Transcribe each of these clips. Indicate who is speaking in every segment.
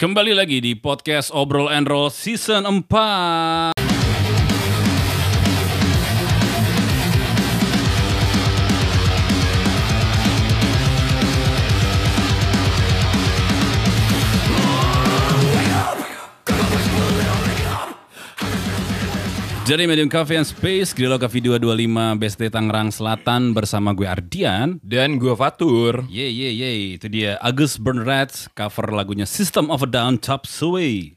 Speaker 1: Kembali lagi di podcast Obrol and Roll Season 4. Jadi Medium Cafe and Space, Grillo Cafe 225, BSD Tangerang Selatan bersama gue Ardian.
Speaker 2: Dan gua Fatur.
Speaker 1: Ye ye ye, itu dia Agus Bernrat cover lagunya System of a Down Top Sway.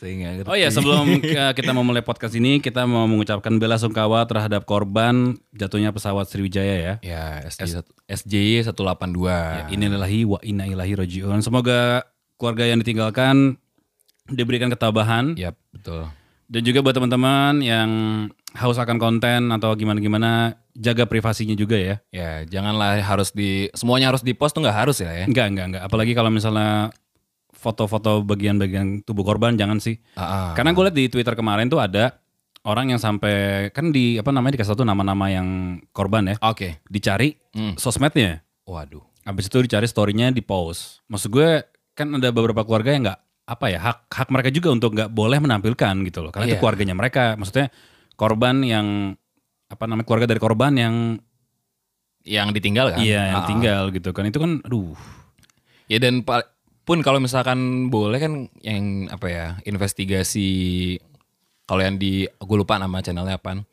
Speaker 2: Saya nggak ngerti.
Speaker 1: Oh ya, sebelum eh, kita memulai podcast ini, kita mau mengucapkan bela sungkawa terhadap korban jatuhnya pesawat Sriwijaya ya.
Speaker 2: Ya, SJ, SJY 182.
Speaker 1: Iya. Innalillahi wa inna ilahi rajiun. Semoga keluarga yang ditinggalkan diberikan ketabahan
Speaker 2: Yap, betul.
Speaker 1: dan juga buat teman-teman yang haus akan konten atau gimana-gimana jaga privasinya juga ya.
Speaker 2: Ya, janganlah harus di semuanya harus di post tuh nggak harus ya ya.
Speaker 1: Enggak, enggak, enggak. Apalagi kalau misalnya foto-foto bagian-bagian tubuh korban jangan sih.
Speaker 2: Ah, ah.
Speaker 1: Karena gue liat di Twitter kemarin tuh ada orang yang sampai kan di apa namanya dikasih satu nama-nama yang korban ya,
Speaker 2: ah. Oke. Hmm.
Speaker 1: dicari sosmednya.
Speaker 2: Waduh.
Speaker 1: Habis itu dicari storynya di post. Maksud gue kan ada beberapa keluarga yang nggak apa ya hak hak mereka juga untuk nggak boleh menampilkan gitu loh. Karena itu
Speaker 2: Iya.
Speaker 1: keluarganya mereka. Maksudnya korban yang apa namanya keluarga dari korban yang
Speaker 2: Yang ditinggal kan?
Speaker 1: iya yang
Speaker 2: Ah, ah.
Speaker 1: tinggal gitu kan itu kan aduh
Speaker 2: Ya dan pa- pun kalau misalkan boleh kan yang apa ya investigasi kalau yang di gue lupa nama channelnya apa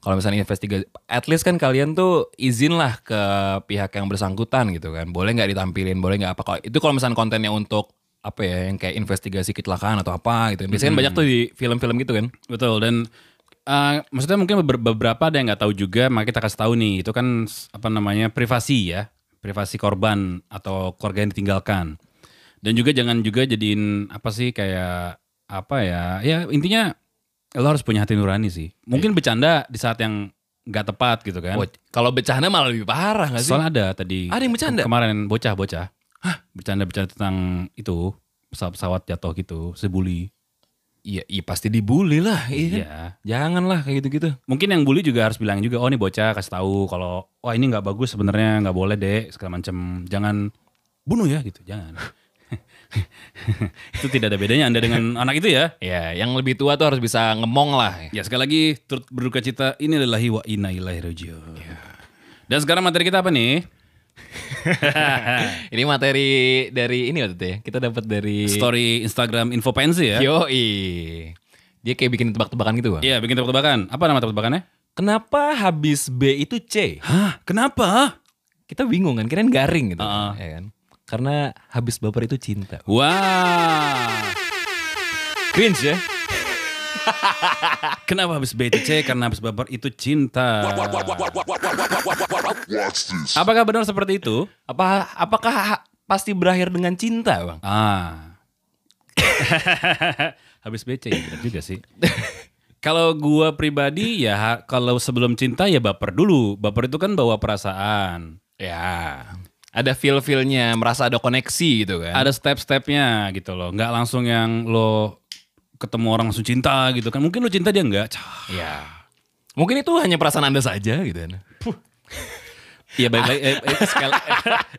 Speaker 2: kalau misalnya investigasi at least kan kalian tuh izinlah ke pihak yang bersangkutan gitu kan boleh nggak ditampilin boleh nggak apa kalau itu kalau misalnya kontennya untuk apa ya yang kayak investigasi kecelakaan atau apa gitu biasanya kan banyak tuh di film-film gitu kan
Speaker 1: Betul dan eh, maksudnya mungkin beber- beberapa ada yang nggak tahu juga, maka kita kasih tahu nih itu kan s- apa namanya privasi ya, privasi korban atau keluarga yang ditinggalkan. Dan juga jangan juga jadiin apa sih kayak apa ya, ya intinya lo harus punya hati nurani sih. Mungkin
Speaker 2: Iya.
Speaker 1: bercanda di saat yang nggak tepat gitu kan.
Speaker 2: Wah, Oh, kalau bercanda malah lebih parah nggak sih
Speaker 1: Soalnya ada tadi.
Speaker 2: Ada yang bercanda?
Speaker 1: Kemarin bocah-bocah. Hah? Bercanda-bercanda tentang itu pesawat-pesawat jatuh gitu, sebuli.
Speaker 2: iya iya pasti dibully lah iya kan?
Speaker 1: Iya.
Speaker 2: janganlah kayak gitu-gitu
Speaker 1: mungkin yang bully juga harus bilang juga oh ini bocah kasih tahu kalau wah ini nggak bagus sebenarnya nggak boleh deh segala macam jangan bunuh ya gitu jangan itu tidak ada bedanya anda dengan anak itu ya
Speaker 2: ya yang lebih tua tuh harus bisa ngemong lah
Speaker 1: ya sekali lagi turut berduka cita ini lillahi wa inna ilaihi rajiun dan sekarang materi kita apa nih
Speaker 2: Ini materi dari ini waktu itu ya. Kita dapat dari
Speaker 1: Iya. story Instagram Infopensi ya
Speaker 2: Yoi. Dia kayak bikin tebak-tebakan gitu, Bang.
Speaker 1: Iya bikin tebak-tebakan apa nama tebak-tebakannya
Speaker 2: Kenapa habis B itu C?
Speaker 1: hah kenapa
Speaker 2: Kita bingung kan, kirain garing gitu.
Speaker 1: Heeh.
Speaker 2: ya kan? Karena habis baper itu cinta.
Speaker 1: wah
Speaker 2: Cringe ya?
Speaker 1: Kenapa habis BTC? Karena habis baper itu cinta. Apakah benar seperti itu?
Speaker 2: Apa apakah ha- pasti berakhir dengan cinta, Bang?
Speaker 1: Ah. habis BC ya benar juga sih. Kalau gua pribadi ya ha- kalau sebelum cinta ya baper dulu. Baper itu kan bawa perasaan.
Speaker 2: Ya. Ada feel-feelnya, merasa ada koneksi gitu kan.
Speaker 1: Ada step-stepnya gitu loh. Nggak langsung yang lo ketemu orang langsung cinta gitu kan. Mungkin lo cinta dia nggak. Cah.
Speaker 2: Ya. Mungkin itu hanya perasaan Anda saja gitu kan.
Speaker 1: Iya baik baik eh, eh, sekali,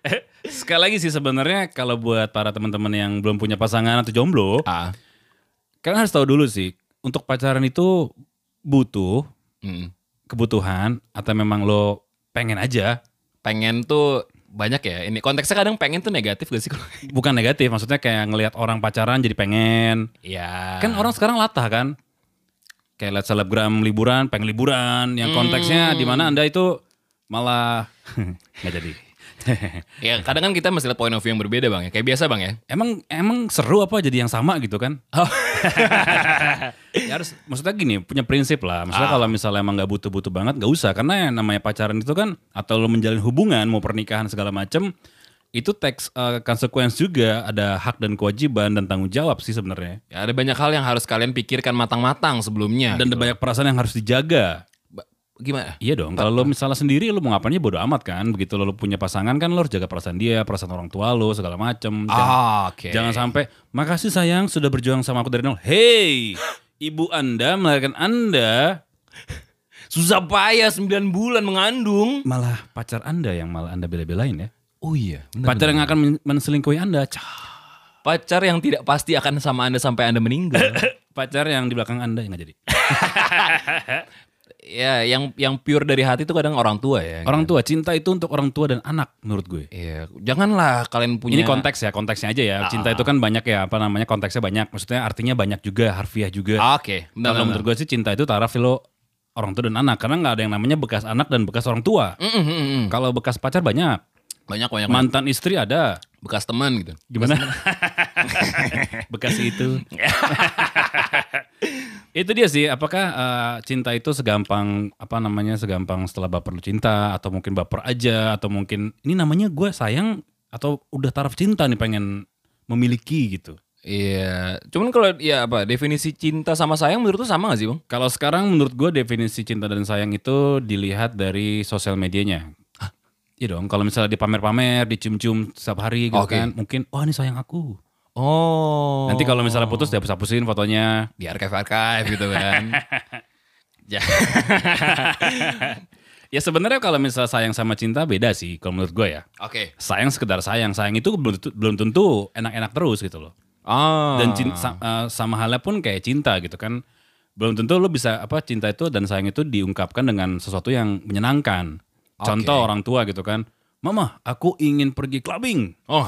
Speaker 1: eh, sekali lagi sih sebenarnya kalau buat para teman-teman yang belum punya pasangan atau jomblo,
Speaker 2: Ah.
Speaker 1: kalian harus tahu dulu sih untuk pacaran itu butuh
Speaker 2: Mm.
Speaker 1: kebutuhan atau memang lo pengen aja
Speaker 2: pengen tuh banyak ya ini konteksnya kadang pengen tuh negatif gak sih kalau
Speaker 1: bukan negatif maksudnya kayak ngelihat orang pacaran jadi pengen
Speaker 2: ya
Speaker 1: kan orang sekarang latah kan kayak lihat selebgram liburan pengen liburan yang konteksnya di mana anda itu malah nggak jadi
Speaker 2: ya kadang kan kita masih lihat point of view yang berbeda bang ya kayak biasa bang ya
Speaker 1: emang emang seru apa jadi yang sama gitu kan
Speaker 2: oh
Speaker 1: ya harus maksudnya gini punya prinsip lah maksudnya kalau misalnya emang nggak butuh-butuh banget nggak usah karena yang namanya pacaran itu kan atau lo menjalin hubungan mau pernikahan segala macem itu teks eh, konsekuensi juga ada hak dan kewajiban dan tanggung jawab sih sebenarnya
Speaker 2: ya, ada banyak hal yang harus kalian pikirkan matang-matang sebelumnya
Speaker 1: dan ada banyak perasaan yang harus dijaga
Speaker 2: Ba- gimana
Speaker 1: iya dong kalau lo misalnya sendiri lo mau ngapainnya bodo amat kan begitu lo, lo punya pasangan kan lo harus jaga perasaan dia perasaan orang tua lo segala macem Jangan-
Speaker 2: ah oke
Speaker 1: Jangan sampai makasih sayang sudah berjuang sama aku dari nol. Hey, ibu Anda melahirkan Anda
Speaker 2: susah payah 9 bulan mengandung
Speaker 1: malah pacar Anda yang malah Anda bela-belain ya.
Speaker 2: Oh iya. benar.
Speaker 1: Pacar yang akan men- menselingkuhi Anda. Cah.
Speaker 2: Pacar yang tidak pasti akan sama Anda sampai Anda meninggal.
Speaker 1: Pacar yang di belakang Anda yang nggak jadi.
Speaker 2: ya, yang yang pure dari hati itu kadang orang tua ya.
Speaker 1: Orang tua, cinta itu untuk orang tua dan anak menurut gue.
Speaker 2: Iya, janganlah kalian punya Ah.
Speaker 1: Ini konteks ya, konteksnya aja ya. Cinta itu kan banyak ya, apa namanya konteksnya banyak. Maksudnya artinya banyak juga, harfiah juga.
Speaker 2: Ah, Oke,
Speaker 1: Kalau
Speaker 2: benar, benar.
Speaker 1: menurut gue sih cinta itu taraf lo orang tua dan anak karena nggak ada yang namanya bekas anak dan bekas orang tua.
Speaker 2: Mm, mm, mm, mm.
Speaker 1: Kalau bekas pacar banyak,
Speaker 2: Banyak banyak banyak.
Speaker 1: mantan istri ada.
Speaker 2: bekas teman gitu.
Speaker 1: Gimana? bekas itu. itu dia sih. Apakah eh, cinta itu segampang apa namanya segampang setelah baper lu cinta atau mungkin baper aja atau mungkin ini namanya gue sayang atau udah taraf cinta nih pengen memiliki gitu.
Speaker 2: Iya, cuman kalau ya apa definisi cinta sama sayang menurut lu sama gak sih, Bang?
Speaker 1: Kalau sekarang menurut gue definisi cinta dan sayang itu dilihat dari sosial medianya. Iya dong, kalau misalnya dipamer-pamer, dicium-cium setiap hari gitu
Speaker 2: Oke.
Speaker 1: kan. Mungkin, wah ini sayang aku.
Speaker 2: Oh.
Speaker 1: Nanti kalau misalnya putus, dia hapus-hapusin fotonya.
Speaker 2: di archive-archive gitu kan. Ya.
Speaker 1: Ya sebenarnya kalau misalnya sayang sama cinta beda sih kalau menurut gue ya.
Speaker 2: Oke.
Speaker 1: Sayang sekedar sayang, sayang itu belum tentu- belum tentu enak-enak terus gitu loh.
Speaker 2: Ah.
Speaker 1: Dan cin- sa- eh, sama halnya pun kayak cinta gitu kan. Belum tentu lo bisa apa cinta itu dan sayang itu diungkapkan dengan sesuatu yang menyenangkan. Contoh orang tua gitu kan. Mama, aku ingin pergi clubbing.
Speaker 2: Oh,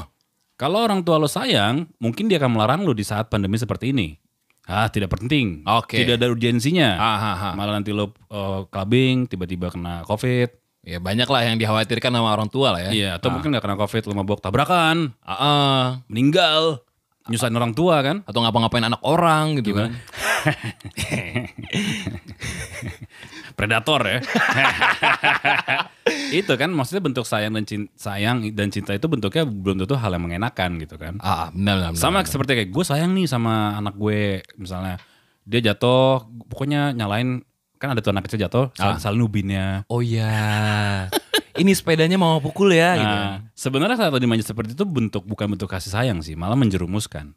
Speaker 1: Kalau orang tua lo sayang, mungkin dia akan melarang lo di saat pandemi seperti ini. Ah, tidak penting.
Speaker 2: Oke.
Speaker 1: Tidak ada urgensinya.
Speaker 2: ah, ah, ah.
Speaker 1: Malah nanti lo eh, clubbing, tiba-tiba kena covid.
Speaker 2: Ya banyak lah yang dikhawatirkan sama orang tua lah ya.
Speaker 1: Iya, atau mungkin nggak kena covid, lo mabok tabrakan,
Speaker 2: Ah, ah.
Speaker 1: meninggal, nyusahin orang tua kan.
Speaker 2: Atau ngapa-ngapain anak orang gitu kan.
Speaker 1: predator ya. itu kan maksudnya bentuk sayang dan cinta, sayang dan cinta itu bentuknya belum tentu hal yang mengenakan gitu kan.
Speaker 2: Ah, benar benar. benar.
Speaker 1: Sama seperti kayak gue sayang nih sama anak gue misalnya dia jatuh pokoknya nyalain kan ada tuh anak kecil jatuh sal
Speaker 2: Ah.
Speaker 1: salin ubinnya.
Speaker 2: Oh iya. Ini sepedanya mau pukul ya gitu.
Speaker 1: Nah, sebenarnya saat dimanja seperti itu bentuk bukan bentuk kasih sayang sih, malah menjerumuskan.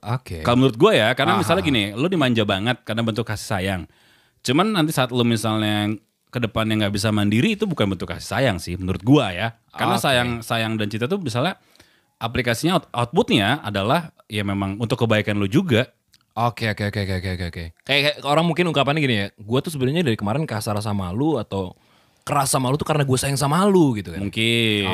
Speaker 2: Oke.
Speaker 1: Kalau menurut gue ya, karena misalnya gini, lo dimanja banget karena bentuk kasih sayang. Cuman nanti saat lo misalnya ke depannya nggak bisa mandiri itu bukan bentuk kasih sayang sih menurut gua ya. Karena sayang sayang dan cinta tuh misalnya aplikasinya out- outputnya adalah ya memang untuk kebaikan lo juga.
Speaker 2: Oke oke oke oke oke oke. Kayak kayak orang mungkin ungkapannya gini ya. Gue tuh sebenarnya dari kemarin kasar sama lu atau keras sama lu tuh karena gue sayang sama lu gitu kan.
Speaker 1: Mungkin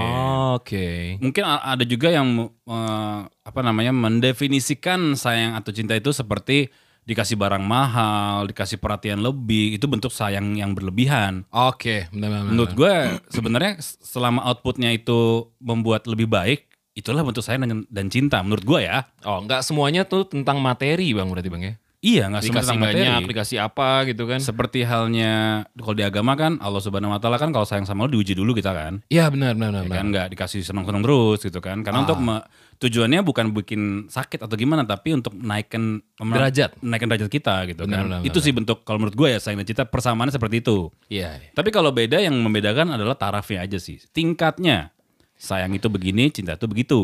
Speaker 2: Oke.
Speaker 1: mungkin a- ada juga yang eh, apa namanya mendefinisikan sayang atau cinta itu seperti dikasih barang mahal, dikasih perhatian lebih, itu bentuk sayang yang berlebihan.
Speaker 2: Oke, benar benar. benar.
Speaker 1: Menurut gue sebenarnya selama outputnya itu membuat lebih baik, itulah bentuk saya dan, dan cinta menurut gue ya.
Speaker 2: Oh, nggak semuanya tuh tentang materi bang berarti bang ya?
Speaker 1: Iya nggak semua
Speaker 2: Dikasih
Speaker 1: tentang materi.
Speaker 2: banyak, dikasih apa gitu kan?
Speaker 1: Seperti halnya kalau di agama kan Allah Subhanahu Wa Taala kan kalau sayang sama lo diuji dulu kita kan,
Speaker 2: Iya benar
Speaker 1: Ya
Speaker 2: benar benar. benar. Ah.
Speaker 1: kan nggak dikasih senang-senang terus gitu kan. Karena untuk me- tujuannya bukan bikin sakit atau gimana, tapi untuk naikkan
Speaker 2: Derajat.
Speaker 1: naikkan derajat kita gitu
Speaker 2: Benar,
Speaker 1: kan.
Speaker 2: benar,
Speaker 1: itu sih bentuk kalau menurut gue ya sayang dan cinta persamaannya seperti itu.
Speaker 2: Iya.
Speaker 1: Tapi kalau beda yang membedakan adalah tarafnya aja sih. Tingkatnya. Sayang itu begini, cinta itu begitu.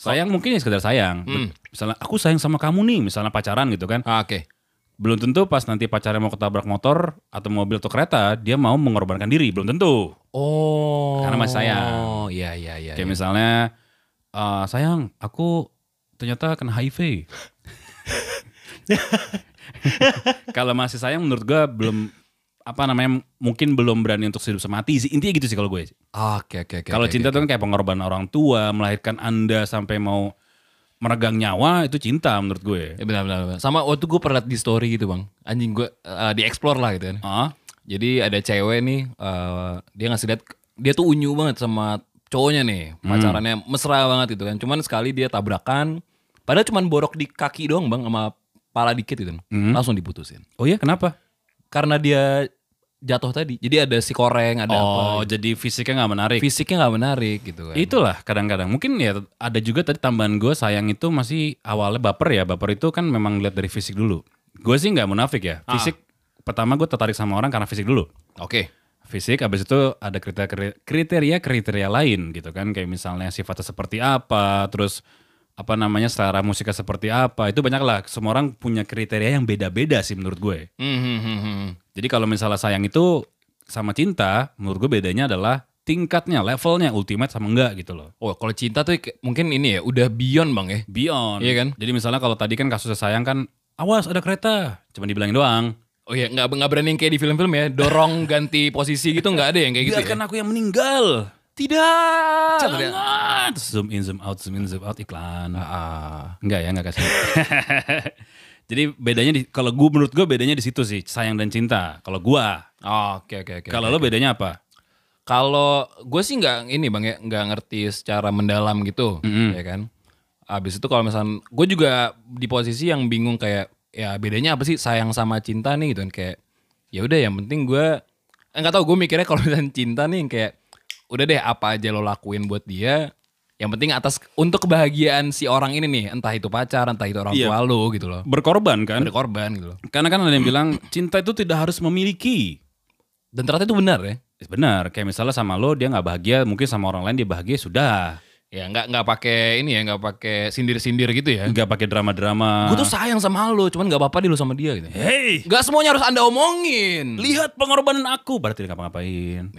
Speaker 1: Sayang mungkin ya sekedar sayang. Misalnya aku sayang sama kamu nih, misalnya pacaran gitu kan.
Speaker 2: Ah, Oke.
Speaker 1: Belum tentu pas nanti pacarnya mau ketabrak motor atau mobil atau kereta, dia mau mengorbankan diri, belum tentu.
Speaker 2: Oh.
Speaker 1: Karena masih sayang.
Speaker 2: Oh iya iya iya.
Speaker 1: Kayak misalnya "Eh, sayang, aku ternyata kena HIV. kalau masih sayang menurut gue belum apa namanya mungkin belum berani untuk hidup semati sih. Intinya gitu sih kalau gue.
Speaker 2: Ah, Oke oke oke.
Speaker 1: Kalau
Speaker 2: oke,
Speaker 1: cinta
Speaker 2: oke.
Speaker 1: tuh kan kayak pengorbanan orang tua, melahirkan Anda sampai mau meregang nyawa itu cinta menurut gue.
Speaker 2: Ya, benar, benar benar. Sama waktu gue pernah liat di story gitu bang. Anjing gue eh, di explore lah gitu kan.
Speaker 1: Ah,
Speaker 2: Jadi ada cewek nih, eh, dia ngasih lihat dia tuh unyu banget sama cowoknya nih, pacarannya mesra banget gitu kan. Cuman sekali dia tabrakan, padahal cuman borok di kaki doang bang sama pala dikit gitu kan. Langsung diputusin.
Speaker 1: oh iya kenapa?
Speaker 2: Karena dia jatuh tadi. Jadi ada si koreng, ada apa.
Speaker 1: Oh, jadi fisiknya nggak menarik.
Speaker 2: Fisiknya nggak menarik gitu kan.
Speaker 1: Itulah kadang-kadang mungkin ya ada juga tadi tambahan gue sayang itu masih awalnya baper ya. Baper itu kan memang lihat dari fisik dulu. Gue sih nggak munafik ya. Fisik pertama gue tertarik sama orang karena fisik dulu.
Speaker 2: Oke.
Speaker 1: fisik habis itu ada kriteria kriteria kriteria lain gitu kan kayak misalnya sifatnya seperti apa terus apa namanya selera musiknya seperti apa itu banyak lah semua orang punya kriteria yang beda-beda sih menurut gue
Speaker 2: Hmm, hmm, hmm, hmm.
Speaker 1: jadi kalau misalnya sayang itu sama cinta menurut gue bedanya adalah tingkatnya, levelnya ultimate sama enggak gitu loh.
Speaker 2: Oh, kalau cinta tuh kayak- mungkin ini ya udah beyond bang ya.
Speaker 1: Beyond.
Speaker 2: Iya kan?
Speaker 1: Jadi misalnya kalau tadi kan kasusnya sayang kan, awas ada kereta, cuma dibilangin doang.
Speaker 2: Oh ya nggak nggak berani yang kayak di film-film ya, dorong ganti posisi gitu nggak ada yang kayak gitu. Ya?
Speaker 1: Biarkan aku yang meninggal.
Speaker 2: Tidak.
Speaker 1: Jangan. Terus Zoom in, zoom out, zoom in, zoom out iklan.
Speaker 2: Ah,
Speaker 1: Enggak ya, enggak kasih. Jadi bedanya di kalau gue menurut gue bedanya di situ sih, sayang dan cinta. Kalau gua,
Speaker 2: Oh, Oke oke oke.
Speaker 1: kalau lo bedanya apa?
Speaker 2: Kalau gue sih nggak ini bang ya nggak ngerti secara mendalam gitu, ya kan. Abis itu kalau misalnya gue juga di posisi yang bingung kayak ya bedanya apa sih sayang sama cinta nih gitu kan kayak ya udah yang penting gue nggak tahu gue mikirnya kalau misalnya cinta nih yang kayak udah deh apa aja lo lakuin buat dia yang penting atas untuk kebahagiaan si orang ini nih entah itu pacar entah itu orang
Speaker 1: Iya.
Speaker 2: tua lo gitu loh
Speaker 1: Berkorban kan?
Speaker 2: ada korban gitu loh
Speaker 1: Karena kan ada yang bilang cinta itu tidak harus memiliki.
Speaker 2: dan ternyata itu benar ya
Speaker 1: Benar, kayak misalnya sama lo dia nggak bahagia, mungkin sama orang lain dia bahagia sudah.
Speaker 2: ya nggak nggak pakai ini ya nggak pakai sindir-sindir gitu ya
Speaker 1: Nggak pakai drama-drama.
Speaker 2: Gue tuh sayang sama lo, cuman gak apa-apa deh lo sama dia gitu.
Speaker 1: Hey,
Speaker 2: Gak semuanya harus anda omongin.
Speaker 1: lihat pengorbanan aku. Berarti dia ngapa-ngapain.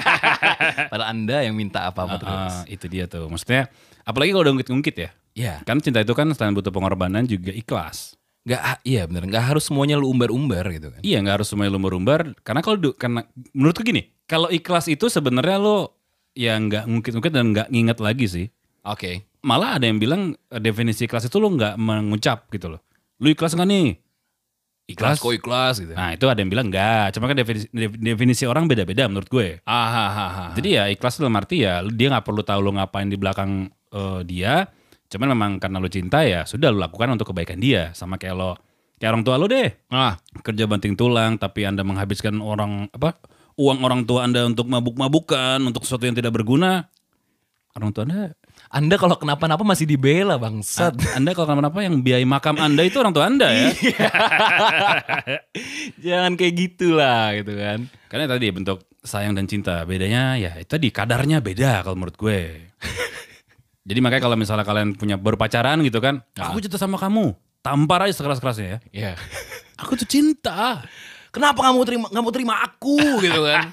Speaker 2: Padahal anda yang minta apa-apa terus.
Speaker 1: Ah, itu dia tuh. Maksudnya, apalagi kalau udah ngungkit-ngungkit ya.
Speaker 2: Ya,
Speaker 1: Kan cinta itu kan selain butuh pengorbanan juga ikhlas.
Speaker 2: gak, iya bener, gak harus semuanya lo umbar-umbar gitu kan.
Speaker 1: Iya nggak harus semuanya lo merumbar. Karena kalau du- karena menurutku gini, kalau ikhlas itu sebenarnya lo ya nggak ngungkit-ngungkit dan nggak nginget lagi sih.
Speaker 2: Oke.
Speaker 1: Malah ada yang bilang eh, definisi ikhlas itu lo nggak mengucap gitu loh. Lo ikhlas nggak nih?
Speaker 2: Ikhlas kok ikhlas gitu.
Speaker 1: Nah itu ada yang bilang nggak. Cuma kan definisi, def- definisi orang beda-beda menurut gue.
Speaker 2: Ah, ah, ah, ah.
Speaker 1: Jadi ya ikhlas dalam arti ya lu- dia nggak perlu tahu lo ngapain di belakang eh, dia. Cuman memang karena lo cinta ya sudah lo lakukan untuk kebaikan dia. Sama kayak lo kayak orang tua lo deh
Speaker 2: Ah,
Speaker 1: kerja banting tulang tapi anda menghabiskan orang apa uang orang tua anda untuk mabuk-mabukan untuk sesuatu yang tidak berguna orang tua anda
Speaker 2: anda kalau kenapa-napa masih dibela bangsat.
Speaker 1: anda kalau kenapa-napa yang biayai makam anda itu orang tua anda ya
Speaker 2: Jangan kayak gitulah gitu kan.
Speaker 1: karena tadi bentuk sayang dan cinta bedanya ya itu tadi kadarnya beda kalau menurut gue jadi makanya kalau misalnya kalian punya baru pacaran gitu kan aku cinta sama kamu tampar aja sekeras-kerasnya ya
Speaker 2: Ya.
Speaker 1: aku tuh cinta
Speaker 2: Kenapa kamu terima nggak mau terima aku gitu kan?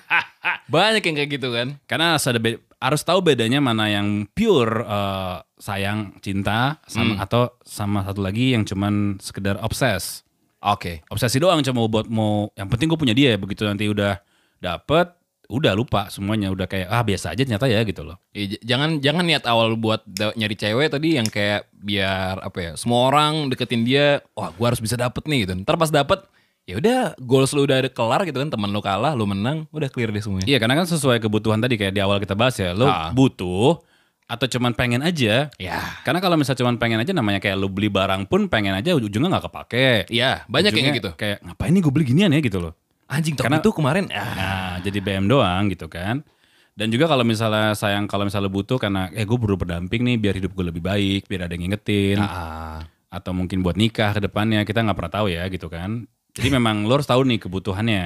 Speaker 2: Banyak yang kayak gitu kan.
Speaker 1: Karena harus, ada be- harus tahu bedanya mana yang pure eh, sayang, cinta, sama atau sama satu lagi yang cuman sekedar obses.
Speaker 2: Oke.
Speaker 1: Obsesi doang cuma buat mau yang penting gue punya dia begitu nanti udah dapet udah lupa semuanya udah kayak ah biasa aja ternyata ya gitu loh.
Speaker 2: Ya, j- jangan jangan niat awal buat da- nyari cewek tadi yang kayak biar apa ya semua orang deketin dia wah gua harus bisa dapet nih gitu ntar pas dapet ya udah goals lu udah ada kelar gitu kan teman lu kalah lu menang udah clear deh semuanya
Speaker 1: Iya karena kan sesuai kebutuhan tadi kayak di awal kita bahas ya lo
Speaker 2: Ah.
Speaker 1: butuh atau cuman pengen aja.
Speaker 2: ya
Speaker 1: Karena kalau misalnya cuman pengen aja namanya kayak lo beli barang pun pengen aja ujungnya nggak kepake.
Speaker 2: ya banyak yang kayak gitu
Speaker 1: Ujungnya Kayak ngapain nih gue beli ginian ya gitu loh.
Speaker 2: anjing tapi
Speaker 1: Karena-
Speaker 2: itu kemarin ah,
Speaker 1: Nah, jadi BM doang gitu kan. Dan juga kalau misalnya sayang, kalau misalnya butuh karena eh gue perlu pendamping nih biar hidup gue lebih baik, biar ada yang ngingetin.
Speaker 2: ah.
Speaker 1: Atau mungkin buat nikah ke depannya, kita nggak pernah tahu ya gitu kan. Jadi memang lo harus tahu nih kebutuhannya.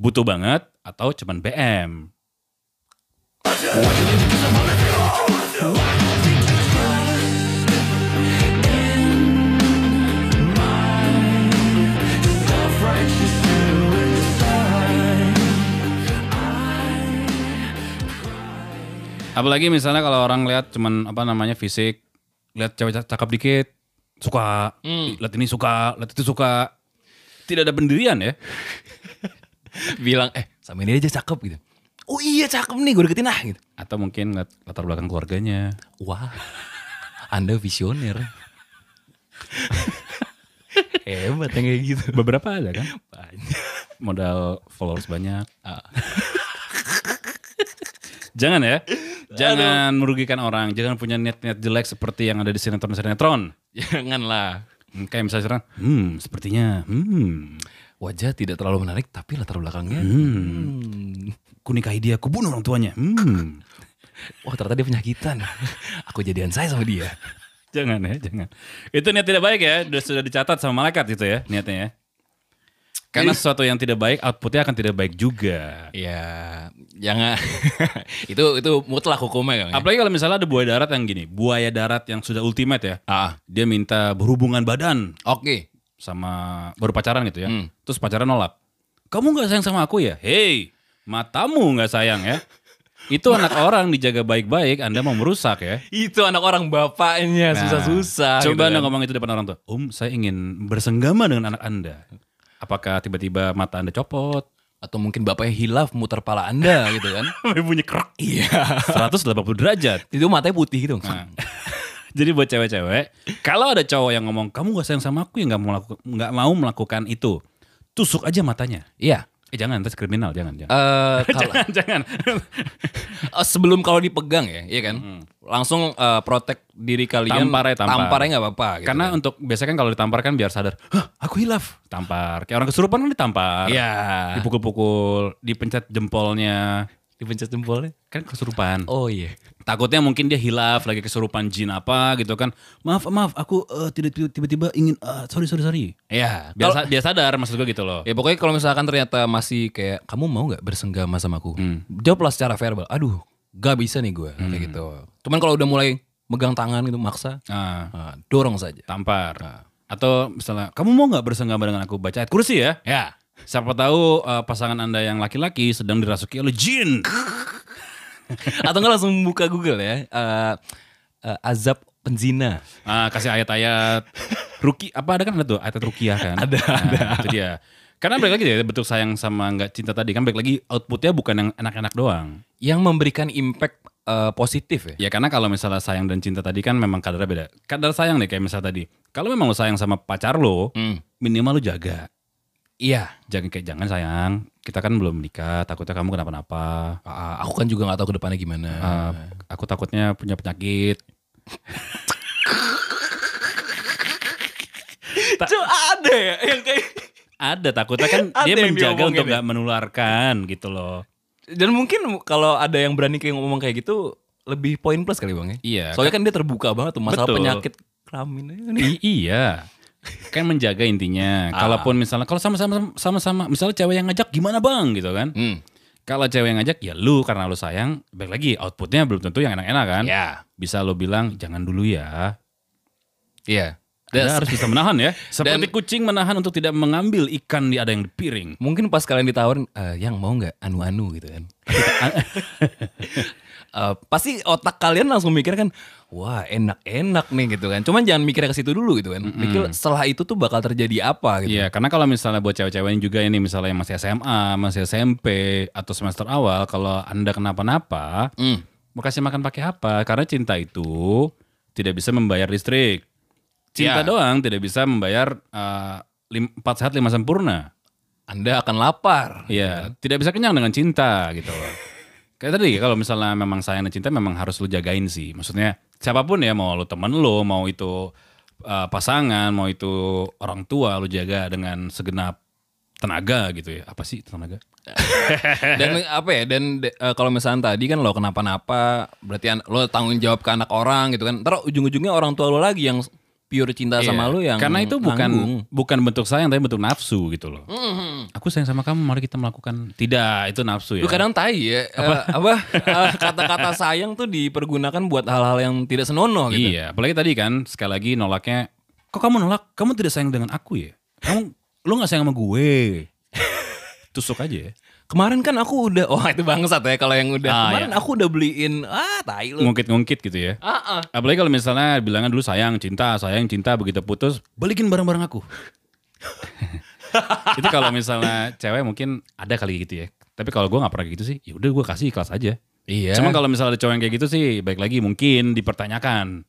Speaker 1: Butuh banget atau cuman BM. Apalagi misalnya kalau orang lihat cuman apa namanya fisik, lihat cewek cak- cakep dikit, suka, lihat ini suka, lihat itu suka. Tidak ada pendirian ya.
Speaker 2: bilang eh sama ini aja cakep gitu oh iya cakep nih gue deketin ah gitu
Speaker 1: Atau mungkin ngeliat latar belakang keluarganya.
Speaker 2: wah anda visioner hebat yang kayak gitu
Speaker 1: Beberapa ada kan?
Speaker 2: banyak
Speaker 1: Modal followers banyak.
Speaker 2: Ah.
Speaker 1: Jangan ya. Jangan merugikan orang. Jangan punya niat-niat jelek seperti yang ada di sinetron-sinetron.
Speaker 2: janganlah
Speaker 1: Hmm, Kayak misalnya sekarang, hmm, sepertinya, hmm,
Speaker 2: wajah tidak terlalu menarik tapi latar belakangnya hmm.
Speaker 1: ku nikahi dia, ku bunuh orang tuanya. Hmm.
Speaker 2: wah ternyata dia penyakitan aku jadian saya sama dia
Speaker 1: jangan ya, jangan. Itu niat tidak baik ya, sudah, sudah dicatat sama malaikat gitu ya, niatnya ya. Karena sesuatu yang tidak baik, outputnya akan tidak baik juga.
Speaker 2: ya jangan itu itu mutlak hukumnya kan
Speaker 1: Apalagi kalau misalnya ada buaya darat yang gini, buaya darat yang sudah ultimate ya,
Speaker 2: ah
Speaker 1: dia minta berhubungan badan
Speaker 2: oke
Speaker 1: sama baru pacaran gitu ya,
Speaker 2: Hmm.
Speaker 1: terus pacaran nolak. Kamu nggak sayang sama aku ya? Hei, matamu nggak sayang ya? Itu anak orang dijaga baik-baik, Anda mau merusak ya.
Speaker 2: Itu anak orang bapaknya susah-susah.
Speaker 1: Coba
Speaker 2: gitu
Speaker 1: Anda
Speaker 2: kan.
Speaker 1: ngomong itu depan orang tua. Om, saya ingin bersenggama dengan anak Anda. Apakah tiba-tiba mata Anda copot?
Speaker 2: Atau mungkin bapaknya hilaf muter pala anda gitu kan.
Speaker 1: Bunyi krok.
Speaker 2: Iya.
Speaker 1: 180 derajat.
Speaker 2: Itu matanya putih gitu.
Speaker 1: Jadi buat cewek-cewek, kalau ada cowok yang ngomong kamu gak sayang sama aku ya nggak mau laku- nggak mau melakukan itu, tusuk aja matanya.
Speaker 2: Iya.
Speaker 1: Eh jangan, terus kriminal jangan jangan.
Speaker 2: Eh, kalau-
Speaker 1: jangan jangan.
Speaker 2: eh, sebelum kalau dipegang ya, iya kan? Langsung eh, protek diri kalian.
Speaker 1: Tampar ya, tampar.
Speaker 2: Tamparnya nggak apa-apa. gitu
Speaker 1: Karena
Speaker 2: kan.
Speaker 1: untuk biasanya kan kalau ditampar kan biar sadar, Hah, aku hilaf. Tampar. Kayak orang kesurupan kan ditampar.
Speaker 2: Iya.
Speaker 1: Dipukul-pukul, dipencet jempolnya.
Speaker 2: Dipencet jempolnya.
Speaker 1: Kan kesurupan.
Speaker 2: Oh iya.
Speaker 1: Takutnya mungkin dia hilaf lagi kesurupan jin apa gitu kan. Maaf, maaf, aku eh, tidak tiba-tiba ingin eh, sorry sorry sorry.
Speaker 2: Iya.
Speaker 1: Biar,
Speaker 2: Kalau-
Speaker 1: sa- biar sadar maksud gue gitu loh.
Speaker 2: Ya pokoknya kalau misalkan ternyata masih kayak kamu mau nggak bersenggama sama aku? Jawablah secara verbal. Aduh, gak bisa nih gue kayak gitu. Cuman kalau udah mulai megang tangan gitu maksa,
Speaker 1: Nah,
Speaker 2: ah, dorong saja.
Speaker 1: tampar. Atau misalnya, kamu mau nggak bersenggama dengan aku baca ayat kursi ya?
Speaker 2: Ya.
Speaker 1: Siapa tahu eh, pasangan anda yang laki-laki sedang dirasuki oleh jin.
Speaker 2: Atau nggak langsung buka Google ya. eh, eh, azab penzina.
Speaker 1: Ah, kasih ayat-ayat ruki apa ada kan ada tuh ayat rukiah kan? Ada, ada. Itu dia. Karena balik lagi ya bentuk sayang sama nggak cinta tadi kan balik lagi outputnya bukan yang enak-enak doang.
Speaker 2: Yang memberikan impact eh, positif
Speaker 1: Ya
Speaker 2: ya.
Speaker 1: karena kalau misalnya sayang dan cinta tadi kan memang kadarnya beda. Kadar sayang deh kayak misalnya tadi. Kalau memang lo sayang sama pacar lo,
Speaker 2: Hmm.
Speaker 1: minimal lo jaga.
Speaker 2: Iya.
Speaker 1: Jangan kayak jangan sayang, kita kan belum menikah, takutnya kamu kenapa-napa.
Speaker 2: Ah, aku kan juga nggak tahu ke depannya gimana.
Speaker 1: Uh, aku takutnya punya penyakit.
Speaker 2: Cuma ada ya yang kayak
Speaker 1: Ada takutnya kan
Speaker 2: Ada
Speaker 1: dia
Speaker 2: yang
Speaker 1: menjaga
Speaker 2: diomongin
Speaker 1: untuk
Speaker 2: ya.
Speaker 1: nggak menularkan gitu loh.
Speaker 2: dan mungkin kalau ada yang berani kayak ngomong kayak gitu lebih poin plus kali bang ya.
Speaker 1: Iya.
Speaker 2: Soalnya kan dia terbuka banget tuh masalah
Speaker 1: Betul.
Speaker 2: penyakit kelamin aja nih.
Speaker 1: I- iya. Kan menjaga intinya.
Speaker 2: Ah.
Speaker 1: Kalaupun misalnya kalau sama-sama sama-sama misalnya cewek yang ngajak gimana bang gitu kan.
Speaker 2: Hmm.
Speaker 1: Kalau cewek yang ngajak ya lu karena lu sayang. Baik lagi outputnya belum tentu yang enak-enak kan.
Speaker 2: Ya.
Speaker 1: Bisa lu bilang jangan dulu ya.
Speaker 2: Iya.
Speaker 1: Anda harus bisa menahan ya. Seperti
Speaker 2: Dan-
Speaker 1: kucing menahan untuk tidak mengambil ikan di ada yang di piring.
Speaker 2: Mungkin pas kalian ditawarin "Eh, yang mau nggak anu-anu gitu kan. Eh, pasti otak kalian langsung mikir kan, wah enak-enak nih gitu kan. Cuman jangan mikirnya ke situ dulu gitu kan. Mikir setelah itu tuh bakal terjadi apa gitu.
Speaker 1: Iya, karena kalau misalnya buat cewek-cewek yang juga ini misalnya yang masih SMA, masih SMP atau semester awal, kalau anda kenapa-napa,
Speaker 2: Hmm.
Speaker 1: mau kasih makan pakai apa? Karena cinta itu tidak bisa membayar listrik. Cinta
Speaker 2: Iya.
Speaker 1: doang tidak bisa membayar eh, lim- empat sehat lima sempurna.
Speaker 2: Anda akan lapar.
Speaker 1: Iya, tidak bisa kenyang dengan cinta gitu loh. Kayak tadi kalau misalnya memang sayang dan cinta memang harus lu jagain sih. Maksudnya siapapun ya mau lu temen lu, mau itu uh, pasangan, mau itu orang tua lu jaga dengan segenap tenaga gitu ya. Apa sih tenaga?
Speaker 2: dan apa ya dan de- eh, kalau misalnya tadi kan lo kenapa-napa berarti an- lo tanggung jawab ke anak orang gitu kan ntar ujung-ujungnya orang tua lo lagi yang pure cinta
Speaker 1: Iya,
Speaker 2: sama lo yang
Speaker 1: Karena itu bukan
Speaker 2: nanggung.
Speaker 1: bukan bentuk sayang tapi bentuk nafsu gitu loh. Aku sayang sama kamu, mari kita melakukan. Tidak, itu nafsu ya.
Speaker 2: Lu kadang tai ya eh, apa, eh, kata-kata sayang tuh dipergunakan buat hal-hal yang tidak senonoh gitu
Speaker 1: Iya, apalagi tadi kan sekali lagi nolaknya, kok kamu nolak? Kamu tidak sayang dengan aku ya? Kamu lu nggak sayang sama gue. Tusuk aja ya.
Speaker 2: kemarin kan aku udah oh itu bangsat ya kalau yang udah
Speaker 1: Ah,
Speaker 2: kemarin aku udah beliin ah tai lo
Speaker 1: Ngungkit-ngungkit gitu ya.
Speaker 2: ah, ah.
Speaker 1: Apalagi kalau misalnya bilangan dulu sayang, cinta, sayang, cinta begitu putus, balikin barang-barang aku. itu kalau misalnya cewek mungkin ada kali gitu ya. Tapi kalau gue nggak pernah gitu sih, ya udah gue kasih ikhlas aja.
Speaker 2: iya
Speaker 1: Cuman kalau misalnya ada cowok yang kayak gitu sih, baik lagi mungkin dipertanyakan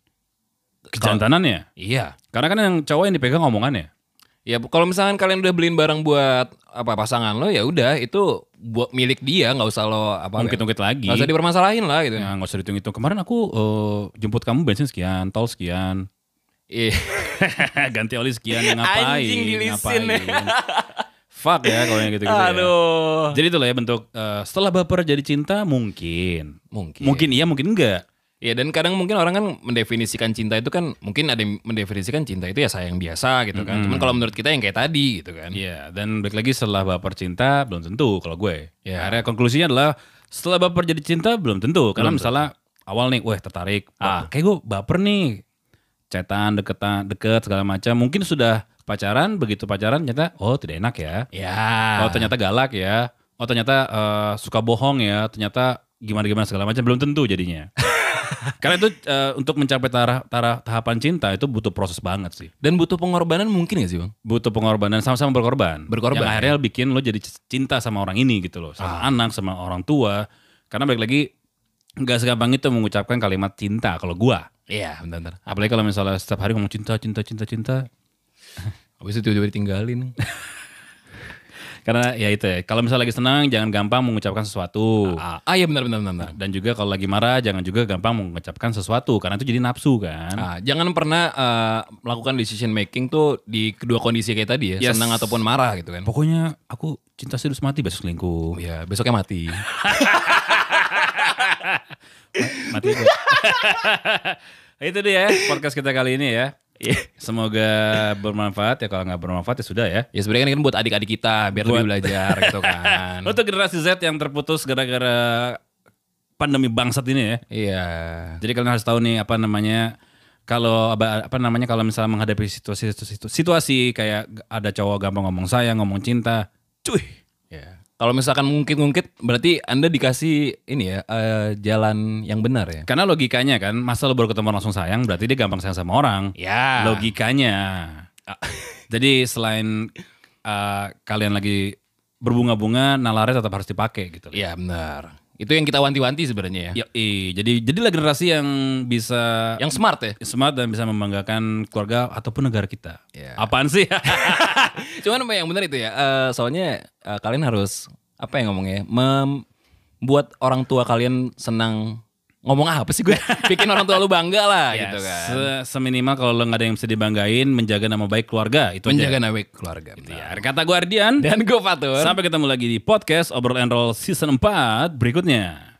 Speaker 1: kejantanannya.
Speaker 2: iya
Speaker 1: Karena kan yang cowok yang dipegang omongannya.
Speaker 2: Ya kalau misalkan kalian udah beliin barang buat apa pasangan lo ya udah itu buat milik dia nggak usah lo apa
Speaker 1: Ungkit-ungkit lagi.
Speaker 2: Gak usah dipermasalahin lah gitu.
Speaker 1: Ya, nggak usah dihitung-hitung. Kemarin aku eh, jemput kamu bensin sekian, tol sekian.
Speaker 2: Ih,
Speaker 1: Ganti oli sekian, ya ngapain?
Speaker 2: Anjing dilisin.
Speaker 1: ngapain. Fuck ya kalau yang gitu-gitu ya.
Speaker 2: Aduh.
Speaker 1: Jadi itulah ya bentuk eh, setelah baper jadi cinta mungkin.
Speaker 2: Mungkin.
Speaker 1: Mungkin iya, mungkin enggak.
Speaker 2: Ya dan kadang mungkin orang kan mendefinisikan cinta itu kan mungkin ada yang mendefinisikan cinta itu ya sayang biasa gitu kan. Cuman kalau menurut kita yang kayak tadi gitu kan.
Speaker 1: Iya, dan balik lagi setelah baper cinta belum tentu kalau gue. Ya, akhirnya konklusinya adalah setelah baper jadi cinta belum tentu. Karena misalnya awal nih, weh tertarik, ah. kayak gue baper nih, cetan, deketan, deket segala macam. Mungkin sudah pacaran, begitu pacaran ternyata oh tidak enak ya.
Speaker 2: Ya.
Speaker 1: Oh ternyata galak ya. Oh ternyata eh, suka bohong ya. Ternyata gimana-gimana segala macam belum tentu jadinya. Karena itu eh, untuk mencapai taraf taraf tahapan cinta itu butuh proses banget sih.
Speaker 2: Dan butuh pengorbanan mungkin gak sih bang?
Speaker 1: Butuh pengorbanan sama-sama berkorban. ya.
Speaker 2: Berkorban,
Speaker 1: Yang akhirnya bikin lo jadi cinta sama orang ini gitu loh, sama anak, sama orang tua. Karena balik lagi nggak segampang itu mengucapkan kalimat cinta kalau gua.
Speaker 2: Iya bentar-bentar.
Speaker 1: Apalagi kalau misalnya setiap hari ngomong cinta, cinta, cinta, cinta.
Speaker 2: Habis itu tiba-tiba ditinggalin.
Speaker 1: Karena ya itu ya. Kalau misalnya lagi senang jangan gampang mengucapkan sesuatu.
Speaker 2: ah, ah, iya benar-benar benar.
Speaker 1: Dan juga kalau lagi marah jangan juga gampang mengucapkan sesuatu karena itu jadi nafsu kan.
Speaker 2: Ah, jangan pernah eh, melakukan decision making tuh di kedua kondisi kayak tadi ya,
Speaker 1: Yes.
Speaker 2: senang ataupun marah gitu kan.
Speaker 1: Pokoknya aku cinta serius mati besok selingkuh.
Speaker 2: Ya, besoknya mati.
Speaker 1: Mati gua. itu dia ya, podcast kita kali ini ya. Semoga bermanfaat ya kalau nggak bermanfaat ya sudah ya.
Speaker 2: ya sebenarnya kan buat adik-adik kita biar lebih belajar gitu kan.
Speaker 1: Untuk generasi Z yang terputus gara-gara pandemi bangsat ini ya.
Speaker 2: Iya.
Speaker 1: Jadi kalian harus tahu nih apa namanya kalau apa apa namanya kalau misalnya menghadapi situasi situasi, situasi kayak ada cowok gampang ngomong sayang, ngomong cinta, cuy.
Speaker 2: Ya. Kalau misalkan ngungkit-ngungkit berarti Anda dikasih ini ya eh, jalan yang benar ya.
Speaker 1: Karena logikanya kan, masa lo baru ketemu langsung sayang, berarti dia gampang sayang sama orang.
Speaker 2: Ya.
Speaker 1: Logikanya.
Speaker 2: Ah.
Speaker 1: Jadi selain uh, kalian lagi berbunga-bunga, nalarnya tetap harus dipakai gitu.
Speaker 2: Iya benar. Itu yang kita wanti-wanti sebenarnya ya.
Speaker 1: Yoi, jadi jadilah generasi yang bisa
Speaker 2: Yang smart ya.
Speaker 1: smart dan bisa membanggakan keluarga ataupun negara kita.
Speaker 2: Iya.
Speaker 1: Apaan sih?
Speaker 2: Cuman apa yang benar itu ya. eh, soalnya eh, kalian harus apa yang ngomongnya? ya, Membuat orang tua kalian senang ngomong apa sih gue? Bikin orang tua lu bangga lah gitu
Speaker 1: Ya,
Speaker 2: kan.
Speaker 1: se- seminimal kalau lo nggak ada yang bisa dibanggain, menjaga nama baik keluarga itu
Speaker 2: Menjaga nama baik keluarga.
Speaker 1: aja.
Speaker 2: benar.
Speaker 1: Ya, kata Guardian.
Speaker 2: Dan gue Fatur.
Speaker 1: Sampai ketemu lagi di podcast Obrol and Roll season 4 berikutnya.